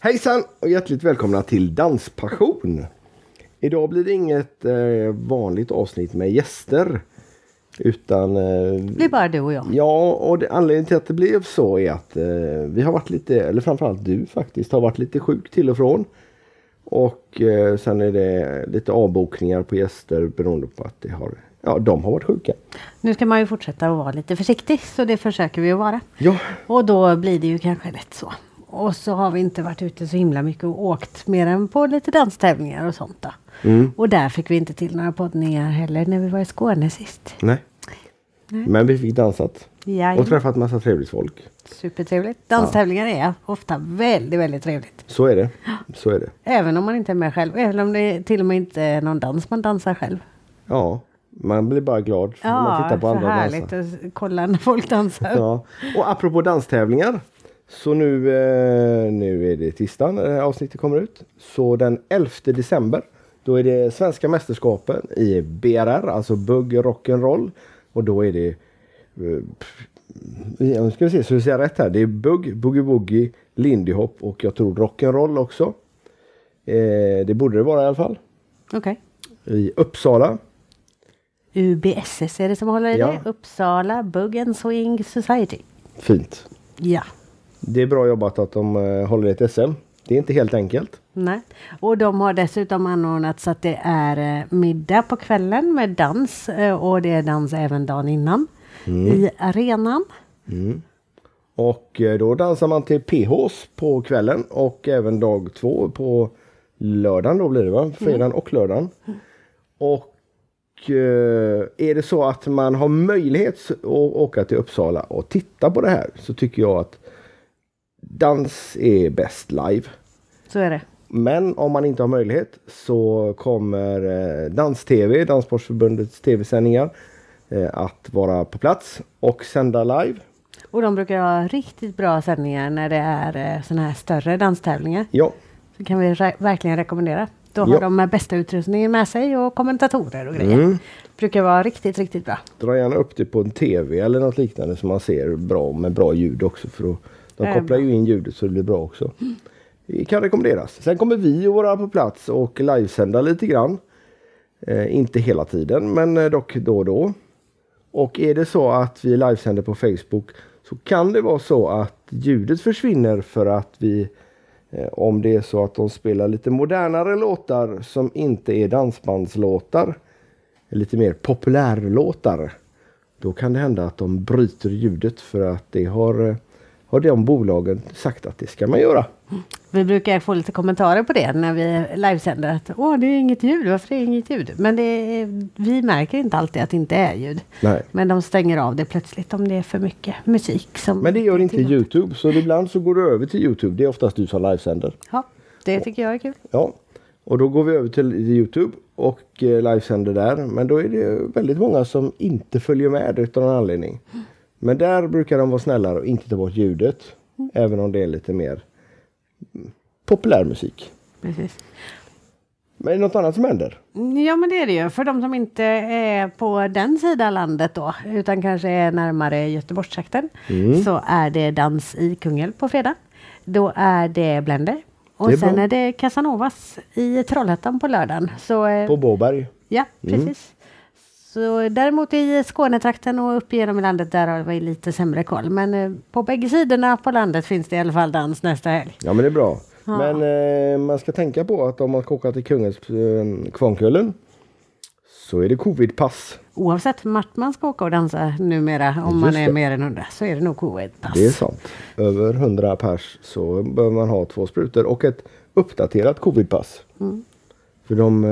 Hejsan och hjärtligt välkomna till Danspassion. Idag blir det inget eh, vanligt avsnitt med gäster. Utan... eh, Det är bara du och jag. Ja, och det, anledningen till att det blev så är att eh, vi har varit lite, eller framförallt du faktiskt, har varit lite sjuk till och från. Och eh, sen är det lite avbokningar på gäster beroende på att det har, ja, de har varit sjuka. Nu ska man ju fortsätta att vara lite försiktig, så det försöker vi att vara. Ja, Och då blir det ju kanske lätt så. Och så har vi inte varit ute så himla mycket och åkt mer än på lite danstävlingar och sånt då. Mm. Och där fick vi inte till några poddningar heller när vi var i Skåne sist. nej. Men vi fick dansat. Jajamän. Och träffat massa trevligt folk. Supertrevligt. Danstävlingar är ofta väldigt, väldigt trevligt. Så är det. Så är det. Även om man inte är med själv. Även om det till och med inte är någon dans man dansar själv. Ja, man blir bara glad när man tittar på så andra dansa. härligt att kolla när folk dansar. Ja. Och apropå danstävlingar. Så nu, eh, nu är det tisdag när det här avsnittet kommer ut. Så den 11 december då är det svenska mästerskapen i BRR, alltså Bugg Rock'n'Roll. Och då är det... eh, pff, ja, Nu ska vi se så vi säger rätt här. Det är Bugg, Boogie Woogie, Lindy Hop och jag tror Rock'n'Roll också. Eh, det borde det vara i alla fall. Okej. I Uppsala. UBSS är det som håller i Ja. det. Uppsala Bug and Swing Society. Fint. Ja. Det är bra jobbat att de eh, håller i ett SM. Det är inte helt enkelt. Nej. Och de har dessutom anordnat så att det är eh, middag på kvällen med dans eh, och det är dans även dagen innan Mm. i arenan. Och eh, då dansar man till PHs på kvällen och även dag två på lördagen då blir det va? Fredagen och lördagen. Och eh, är det så att man har möjlighet s- att åka till Uppsala och titta på det här så tycker jag att dans är bäst live. Så är det. Men om man inte har möjlighet så kommer eh, Dans-TV, Danssportförbundets tv-sändningar, eh, att vara på plats och sända live. Och de brukar ha riktigt bra sändningar när det är sådana här större danstävlingar. Ja, Så kan vi re- verkligen rekommendera. Då har Ja. Mm. de eh, bästa utrustningen med sig och kommentatorer och grejer. Brukar vara riktigt, riktigt bra. Dra gärna upp det på en TV eller något liknande som man ser bra med bra ljud också. För då, de är kopplar bra. ju in ljudet så det blir bra också. Det kan rekommenderas. Sen kommer vi att vara på plats och livesända lite grann. Eh, inte hela tiden men eh, dock då och då. Och är det så att vi livesänder på Facebook så kan det vara så att ljudet försvinner för att vi eh, om det är så att de spelar lite modernare låtar som inte är dansbandslåtar lite mer populärlåtar. Då kan det hända att de bryter ljudet för att det har, eh, har de bolagen sagt att det ska man göra. Vi brukar få lite kommentarer på det när vi livesänder. Att, Åh, det är inget ljud. Varför är det inget ljud? Men det är, vi märker inte alltid att det inte är ljud. Nej. Men de stänger av det plötsligt om det är för mycket musik. Som Men det gör inte tillåter. Youtube så ibland så går du över till Youtube. Det är oftast du som livesänder. Ja, det tycker jag är kul. Ja. Och då går vi över till Youtube och eh, livesänder där. Men då är det väldigt många som inte följer med utan någon anledning. Men där brukar de vara snällare och inte ta bort ljudet. Även om det är lite mer mm, populär musik. Precis. Men är det något annat som händer? Mm, Ja, men det är det ju. För de som inte är på den sidan landet då, utan kanske är närmare Göteborgstrakten, Mm. så är det dans i Kungälv på fredag. Då är det Blender. Och Det är sen bra. är det Casanovas i Trollhättan på lördagen. Så, eh, På Båberg. Ja, Mm. precis. Så däremot i Skånetrakten och upp igenom landet, där har vi lite sämre koll. Men eh, på bägge sidorna på landet finns det i alla fall dans nästa helg. Ja men det är bra. Men eh, man ska tänka på att om man ska åka till Kungens eh, Kvarnkullen så är det covidpass. Oavsett vart man ska åka och dansa numera, om man Just är det. mer än 100, så är det nog covid-pass. Det är sant. Över 100 pers så behöver man ha två sprutor och ett uppdaterat covidpass. Mm. För de... eh,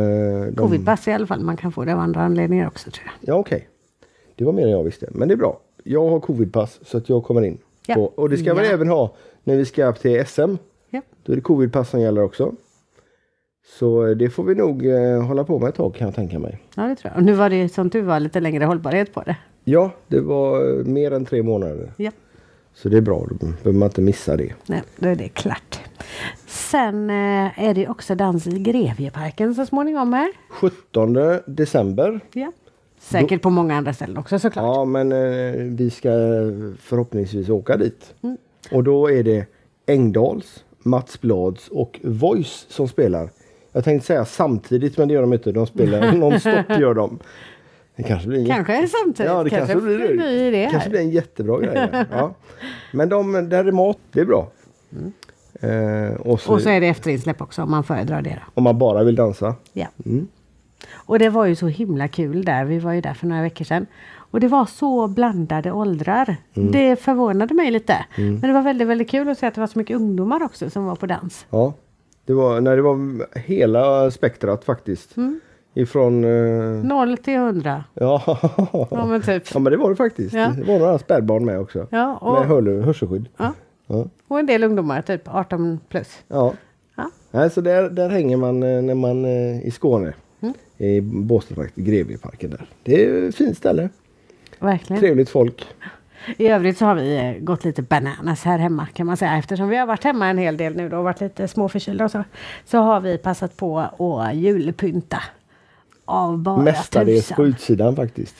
de Covidpass i alla fall, man kan få det av andra anledningar också tror jag. ja okej. Det var mer än jag visste. Men det är bra. Jag har covidpass så att jag kommer in. Ja. På, och det ska man Ja. även ha när vi ska upp till SM. Ja. Då är det covidpass som gäller också. Så eh, det får vi nog eh, hålla på med ett tag kan jag tänka mig. ja, det tror jag. Och nu var det ju som tur var lite längre hållbarhet på det. Ja, det var eh, mer än tre månader. Ja. Så det är bra, då behöver man inte missa det. Nej, då är det klart. Sen eh, är det ju också dans i Grevieparken så småningom här. 17 december. Ja. Säkert på många andra ställen också såklart. Ja, men eh, Mm. vi ska förhoppningsvis åka dit. Och då är det Engdals Mats Blads och Voice som spelar. Jag tänkte säga samtidigt men det gör de inte. De spelar nonstop gör de. Det kanske blir en Kanske samtidigt. Ja, det kanske, blir en ny idé det. här. kanske blir en jättebra grej. där. Ja. Men de, där är mat, det är bra. Eh, Mm. och så, Och så är det efterinsläpp också om man föredrar det. Då. om man bara vill dansa. Ja. Mm. Och det var ju så himla kul där. Vi var ju där för några veckor sedan. Och det var så blandade åldrar. Mm. Det förvånade mig lite. Men det var väldigt, väldigt kul att se att det var så mycket ungdomar också som var på dans. Ja. Det var, nej, det var hela spektrat faktiskt. Ifrån... Eh, 0 till 100. ja. Ja, men typ. ja, men det var det faktiskt. Ja. Det var några spädbarn med också. Ja, och- Med hörlur, hörselskydd. Ja. Ja. Och en del ungdomar, typ 18 plus. Ja. Ja. Nej, så där, där hänger man eh, när man eh, i Skåne. Mm. I Båstad faktiskt, Grevieparken där. Det är ett fint ställe. Verkligen. Trevligt folk. I övrigt så har vi eh, gått lite bananas här hemma kan man säga. Eftersom vi har varit hemma en hel del nu då och varit lite småförkylda och så. Så har vi passat på att julpynta. Av bara Mestadels på tusan. utsidan faktiskt.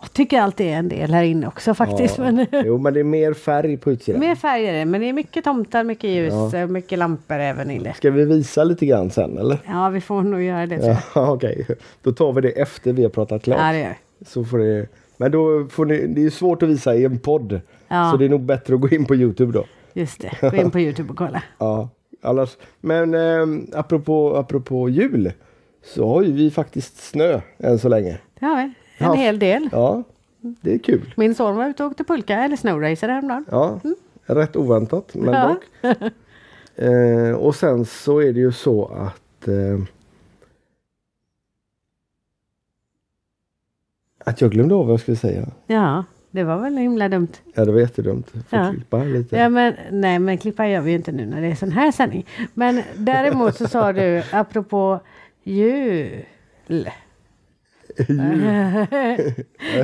Jag tycker allt är en del här inne också faktiskt. Ja. Men, Jo, men det är mer färg på utsidan. mer färger är det, men det är mycket tomtar, mycket ljus, eh, mycket lampor även inne. Ska vi visa lite grann sen eller? Ja, vi får nog göra det. tror jag. Ja, Okej, då tar vi det efter vi har pratat klart. Ja, det gör vi. Så får det... Men då får ni... det är ju svårt att visa i en podd. Ja. Så det är nog bättre att gå in på Youtube då. Just det, gå in på Youtube och kolla. Ja, annars... Men eh, apropå, apropå jul så har ju vi faktiskt snö än så länge. Det har vi. En Ja. hel del. Ja, det är kul. Min son var ute och åkte pulka eller snowracer häromdagen. Ja, rätt oväntat men Mm. Ja. dock. Eh, och sen så är det ju så att eh, Att jag glömde av vad jag skulle säga. Ja, det var väl himla dumt. Ja, det var jättedumt. Får Ja. klippa lite. Ja, men, nej, men klippa gör vi ju inte nu när det är sån här sändning. Men däremot så sa du, apropå jul.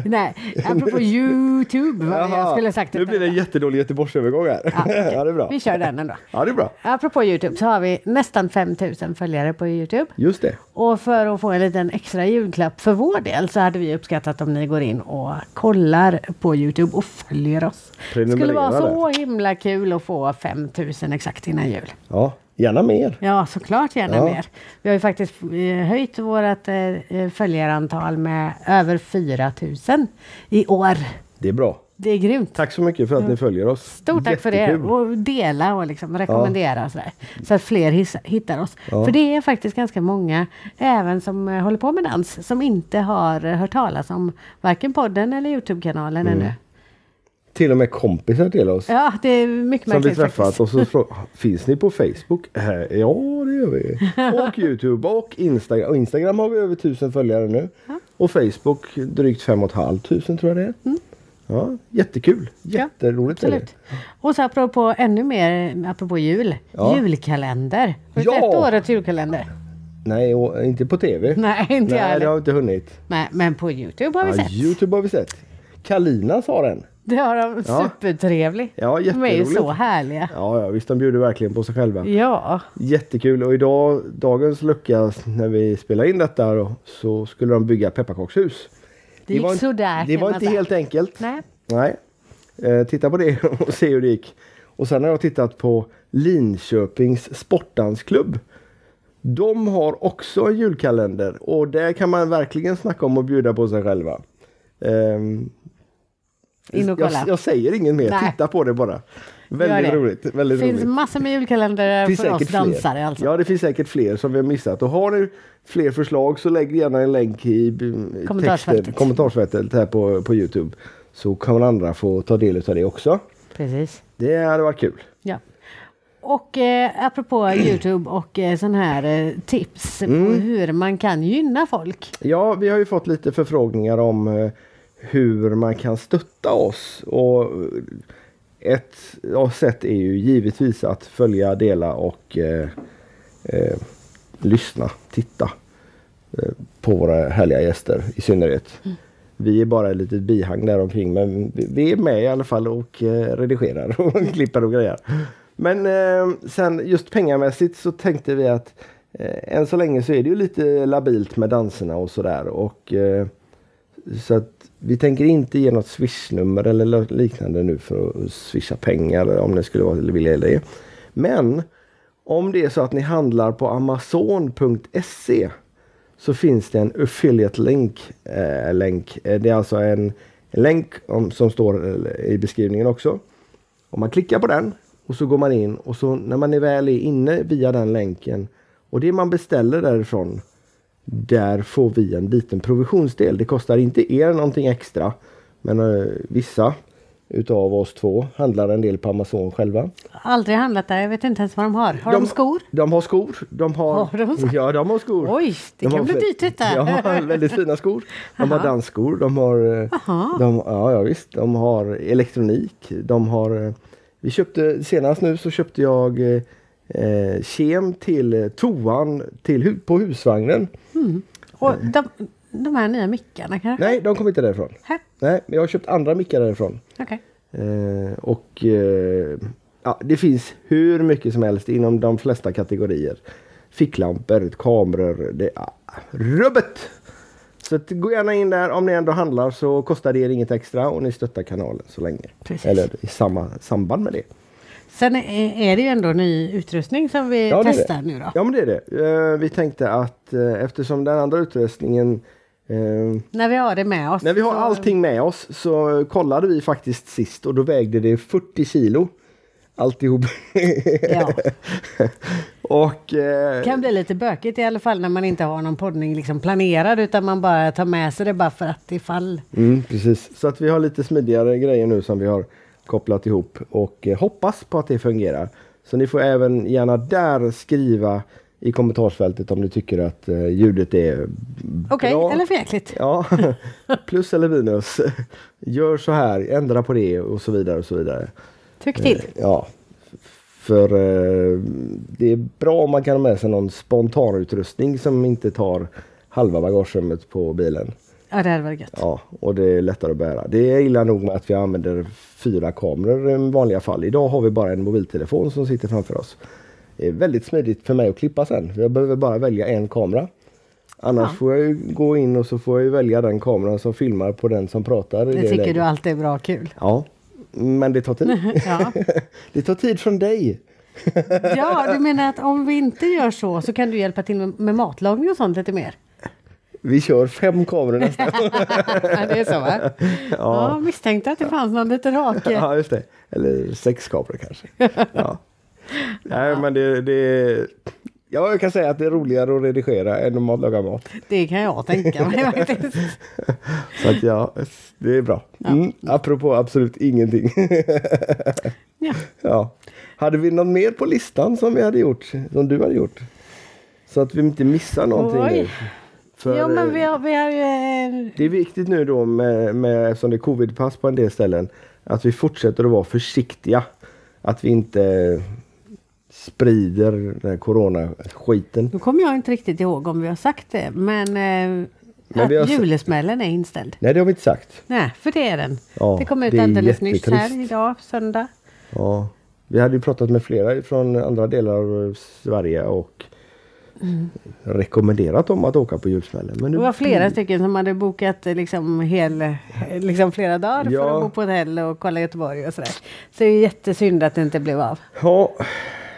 nej, apropå Youtube var det jag Jaha, skulle ha sagt. nu blir det en jättedålig Göteborgsövergång här. Ja, okej. det är bra. Vi kör den ändå. Ja, det är bra. Apropå Youtube så har vi nästan 5000 följare på Youtube. Just det. Och för att få en liten extra julklapp för vår del så hade vi uppskattat om ni går in och kollar på Youtube och följer oss. Det skulle Prenumerera vara så himla kul att få 5000 exakt innan jul. Ja, gärna mer. Ja, såklart gärna Ja. mer. Vi har ju faktiskt eh, höjt vårt eh, eh, följarantal med över 4000 i år. Det är bra. Det är grymt. Tack så mycket för att ni följer oss. Stort tack för det. Jättekul. Och dela och liksom rekommendera och sådär. Så att fler hissa- hittar oss. För det är faktiskt ganska många, även som eh, håller på med dans, som inte har eh, hört talas om varken podden eller Youtube-kanalen Mm. ännu. Till och med kompisar till oss. Ja, det är mycket Som vi märkligt träffat faktiskt. och så frågar finns ni på Facebook? Eh, Ja, det gör vi. Och Youtube och Instagram. Och Instagram har vi över tusen följare nu. Och Facebook drygt fem och ett halvt tusen tror jag det är. Ja, jättekul. Jätteroligt är det. Mm. Absolut. Och så apropå ännu mer, eh, apropå jul. Ja. Julkalender. Har du Ja! sett årets julkalender? Nej, och, inte på TV. Nej, inte jag Nej, det heller. har vi inte hunnit. Nej, Men på Youtube har vi Ja, sett. Youtube har vi sett. Kalinas har en. Det har de. Ja. Supertrevlig. Ja, de är ju jätteroligt. så härliga. Ja, ja, visst de bjuder verkligen på sig själva. Ja. Jättekul och idag, dagens lucka när vi spelar in detta då, så skulle de bygga pepparkakshus. gick var inte, sådär, Det kan var man inte säga. helt enkelt. Nej. Nej. Eh, titta på det och se hur det gick. Och sen har jag tittat på Linköpings sportdansklubb. De har också en julkalender och där kan man verkligen snacka om att bjuda på sig själva. Ehm, In och jag, kolla. jag säger inget mer, Nej. titta på det bara. Gör Väldigt det. roligt. Väldigt finns roligt. massor med julkalendrar finns för oss säkert fler. dansare alltså. Ja, det finns säkert fler som vi har missat. Och har ni fler förslag så lägg gärna en länk i b- texten, Kommentarsfältet. kommentarsfältet här på, på Youtube. Så kan andra få ta del av det också. Precis. Det hade varit kul. Ja. Och eh, apropå Youtube och eh, sån här eh, tips Mm. på hur man kan gynna folk. Ja, vi har ju fått lite förfrågningar om eh, hur man kan stötta oss. Och eh, ett ja, sätt är ju givetvis att följa, dela och eh, eh, lyssna, titta eh, på våra härliga gäster i synnerhet. Vi är bara ett litet bihang där omkring men vi- vi är med i alla fall och eh, redigerar och klipper och grejer. Men eh, sen just pengamässigt så tänkte vi att eh, än så länge så är det ju lite labilt med danserna och sådär. Och, eh, så att vi tänker inte ge något swishnummer eller lo- liknande nu för att swisha pengar om ni skulle vara- vilja det. Men Om det är så att ni handlar på Amazon.se så finns det en affiliate link. Eh, länk. Eh, Det är alltså en länk om, som står eh, i beskrivningen också. Om man klickar på den och så går man in och så när man är väl är inne via den länken och det man beställer därifrån där får vi en liten provisionsdel. Det kostar inte er någonting extra men eh, vissa utav oss två handlar en del på Amazon själva. Aldrig handlat där, jag vet inte ens vad de har. Har de, skor? De har skor. De har, Har de skor? Ja, de har skor. Oj, det De kan har bli fl- dyrt detta. Ja, väldigt fina skor. De har dansskor, de har... eh, Jaha. De, ja, ja, visst. De har elektronik. De har... eh, Vi köpte, senast nu så köpte jag eh, eh, kem till eh, toan till, hu- på husvagnen. Och de, de här nya mickarna kanske? Nej, de kom inte därifrån. Här, Nej, men jag har köpt andra mickar därifrån. okej. Eh, och eh, ja, det finns hur mycket som helst inom de flesta kategorier. Ficklampor, kameror, det är rubbet! Så att gå gärna in där om ni ändå handlar så kostar det er inget extra och ni stöttar kanalen så länge. Precis. Eller i samma samband med det. Sen är är det ju ändå ny utrustning som vi Ja, det är testar det. nu då. Ja men det är det. Eh, vi tänkte att eh, eftersom den andra utrustningen eh, När vi har det med oss. När vi har så- allting med oss så kollade vi faktiskt sist och då vägde det 40 kilo. Alltihop. Ja. och eh, kan bli lite bökigt i alla fall när man inte har någon poddning liksom planerad utan man bara tar med sig det bara för att ifall. mm, precis. Så att vi har lite smidigare grejer nu som vi har kopplat ihop och eh, hoppas på att det fungerar. Så ni får även gärna där skriva i kommentarsfältet om ni tycker att eh, ljudet är Okej, bra. eller för jäkligt. Ja, plus eller minus. Gör så här, ändra på det och så vidare och så vidare. Tyck till. Eh, Ja. För eh, det är bra om man kan ha med sig någon spontanutrustning som inte tar halva bagagerummet på bilen. Ja, det hade varit gött. Ja, och det är lättare att bära. Det är illa nog med att vi använder fyra kameror i vanliga fall. Idag har vi bara en mobiltelefon som sitter framför oss. Det är väldigt smidigt för mig att klippa sen. Jag behöver bara välja en kamera. Annars Ja. får jag ju gå in och så får jag ju välja den kameran som filmar på den som pratar. i Det det tycker läget. du alltid är bra och kul. Ja, men det tar tid. Ja. det tar tid från dig. ja, du menar att om vi inte gör så så kan du hjälpa till med- med matlagning och sånt lite mer? Vi kör fem kameror nästa gång. Ja, det är så va? Ja, misstänkte att det fanns någon liten hake. Ja, just det. Eller sex kameror kanske. Ja. Nej, men det, det... Ja, jag kan säga att det är roligare att redigera än att laga mat. Det kan jag tänka mig faktiskt. Så att ja, det är bra. Mm, apropå absolut ingenting. Ja. ja. Hade vi något mer på listan som vi hade gjort? Som du hade gjort? Så att vi inte missar någonting Oj. nu. För, ja, men vi eh, har, vi har ju... eh, Det är viktigt nu då med, med, eftersom det är covidpass på en del ställen att vi fortsätter att vara försiktiga. Att vi inte sprider den här coronaskiten. Nu kommer jag inte riktigt ihåg om vi har sagt det, men, eh, Men att vi har s- julesmällen är inställd. Nej, det har vi inte sagt. Nej, för det är den. Ja, det kom ut det är alldeles nyss jättetrist. här idag, söndag. Ja. Vi hade ju pratat med flera från andra delar av Sverige och rekommenderat dem att åka på julsmällen. Men Det nu, var flera stycken som hade bokat eh, liksom, hel, eh, liksom flera dagar för Ja. att bo på hotell och kolla Göteborg och sådär. Så det är jättesynd att det inte blev av. ja,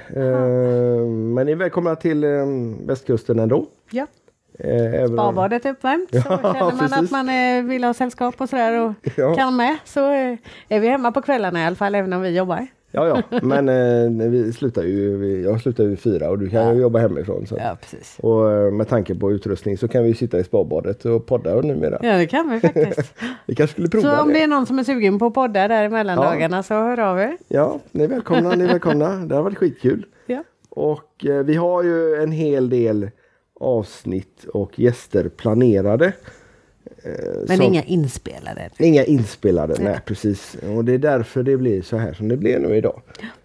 eh, men ni är välkomna till eh, västkusten ändå. Ja, Eh, även om- badbadet är uppvärmt. Så Ja, känner man att precis. man eh, vill ha sällskap och sådär och Ja. kan med så eh, är vi hemma på kvällarna i alla fall, även om vi jobbar. Ja, ja, men eh, vi slutar ju, vi- jag slutar ju vid fyra och du kan ju jobba hemifrån. Så. att- Ja, precis. Och eh, med tanke på utrustning så kan vi ju sitta i spabadet och podda numera. Ja, det kan vi faktiskt. Vi kanske skulle prova Så om det. det är någon som är sugen på att podda där i mellandagarna så hör av er. Ja, ni är välkomna, ni är välkomna. Det har varit skitkul. Ja. Och eh, vi har ju en hel del avsnitt och gäster planerade. Eh, Men som- inga inspelade. inga inspelade, nej precis. Och det är därför det blir så här som det blev nu idag.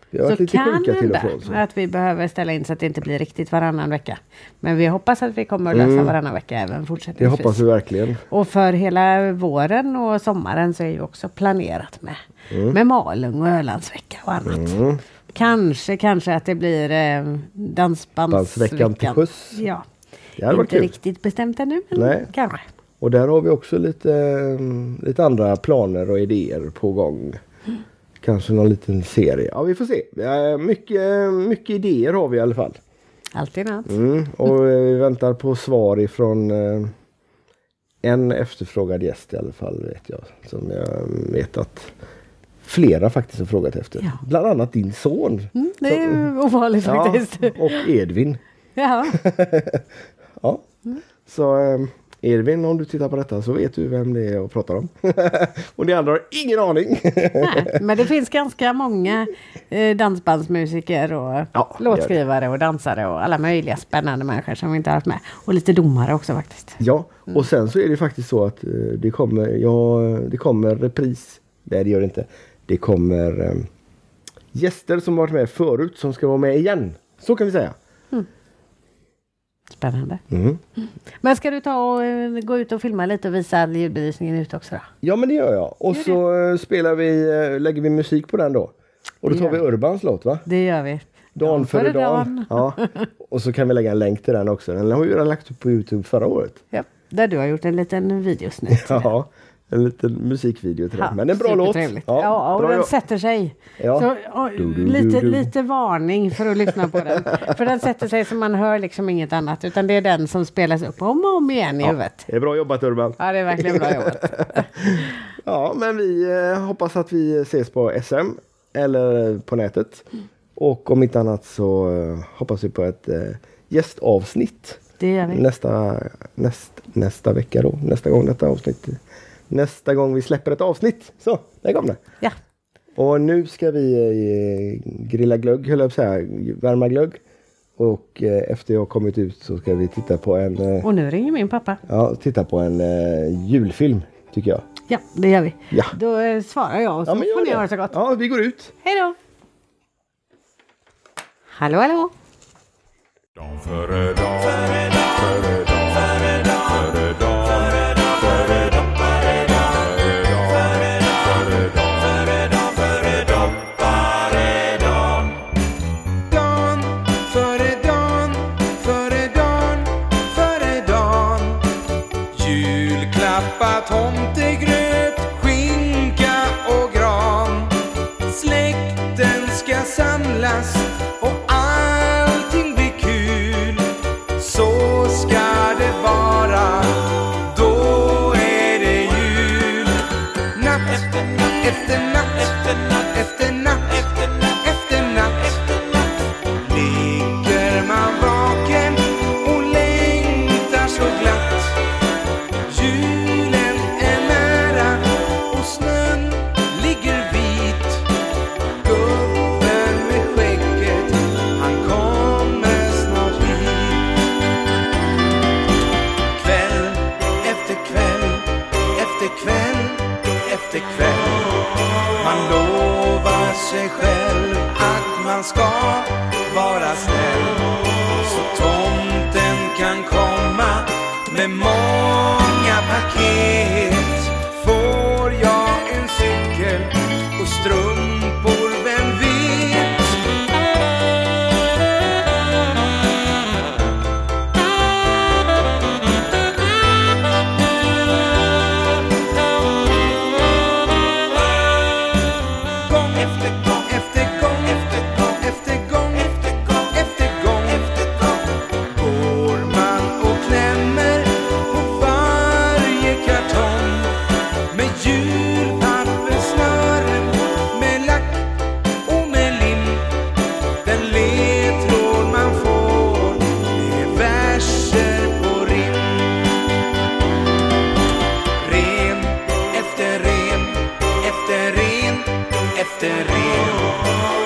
Vi har varit Så lite kan sjuka till och hända från. Så. att vi behöver ställa in så att det inte blir riktigt varannan vecka. Men vi hoppas att vi kommer att lösa varannan vecka även Det fortsättningsvis. Mm. hoppas vi verkligen. Och för hela våren och sommaren så är ju också planerat med, Mm. med Malung och Ölandsvecka och annat. Kanske, kanske att det blir eh, dansbandsveckan. Dansveckan till sjöss. Ja. Det hade varit Inte kul. riktigt bestämt ännu, men Nej. kanske. mm, Och där har vi också lite, eh, lite andra planer och idéer på gång. Kanske någon liten serie. Ja, vi får se. Eh, Mycket, mycket idéer har vi i alla fall. Alltid något. Mm. Och eh, vi väntar på svar ifrån eh, en efterfrågad gäst i alla fall, vet jag. Som jag vet att flera faktiskt har frågat efter. Ja. Bland annat din son. Mm, det är ju ovanligt Ja, faktiskt. och Edvin. Ja. Ja. Så eh, Edvin, om du tittar på detta så vet du vem det är jag pratar om. och ni andra har ingen aning. Nej, men det finns ganska många eh, dansbandsmusiker och Ja, låtskrivare och dansare och alla möjliga spännande människor som vi inte har haft med. Och lite domare också faktiskt. Ja, och sen så är det faktiskt så att eh, det kommer, ja, det kommer repris. Nej, det gör det inte. Det kommer eh, gäster som varit med förut som ska vara med igen. Så kan vi säga. Spännande. Mm. Men ska du ta och eh, gå ut och filma lite och visa all ljudbelysningen ute också då? Ja, men det gör jag. Och så eh, spelar vi, eh, lägger vi musik på den då. Och då Det tar gör vi Urbans låt, va? Det gör vi. Dan före dan. Ja. Och så kan vi lägga en länk till den också. Den har vi redan lagt upp på Youtube förra året. Ja, där du har gjort en liten videosnutt. Ja, en liten musikvideo till Ja, den. Men en bra låt. supertrevligt. Ja, och bra den låt. sätter sig. Ja. Så, och, Du, du, lite, du, du. lite varning för att lyssna på den. För den sätter sig så man hör liksom inget annat. Utan det är den som spelas upp om och om igen i huvudet. Det är bra jobbat Urban. Ja, det är verkligen bra jobbat. Ja, men vi eh, hoppas att vi ses på SM eller på nätet. Mm. Och om inte annat så eh, hoppas vi på ett eh, gästavsnitt Det gör vi. nästa, näst, nästa vecka då. Nästa gång detta avsnitt. Nästa gång vi släpper ett avsnitt. Så, där kom det. Ja, Och nu ska vi eh, grilla glögg, höll jag på att säga. Värma glögg. Och eh, efter jag har kommit ut så ska vi titta på en, eh, och nu ringer min pappa. ja, titta på en eh, julfilm, tycker jag. Ja, det gör vi. Ja. Då eh, svarar jag och så men gör får ni det. ha det så gott. Ja, vi går ut. Hej då! Hallå, hallå! Dan före dan, före dan, före dan, före dan, före dan, före dan, före dan, före dan, före dan, före dan, före dan. dan, före dan, före dan, före dan. Julklappa, tomtegröt, skinka och gran. Släkten ska samlas och allting blir kul. Så ska det vara, då är det jul. Natt efter natt, efter natt, efter natt, efter natt. Efter natt ligger man vaken och längtar så glatt. Julen är nära och snön ligger vit. Gubben med skägget, han kommer snart hit. Kväll efter kväll, efter kväll, efter kväll. Man lovar sig själv att man ska vara snäll Så tomten kan komma med många paket Får jag en cykel och strumpor, vem vet? gång efter gång efter gång efter gång efter gång efter gång efter gång efter gång går man och klämmer på varje kartong med julpapperssnören, med lack och med lim. Den ledtråd man får är verser på rim. Ren efter ren efter ren efter ren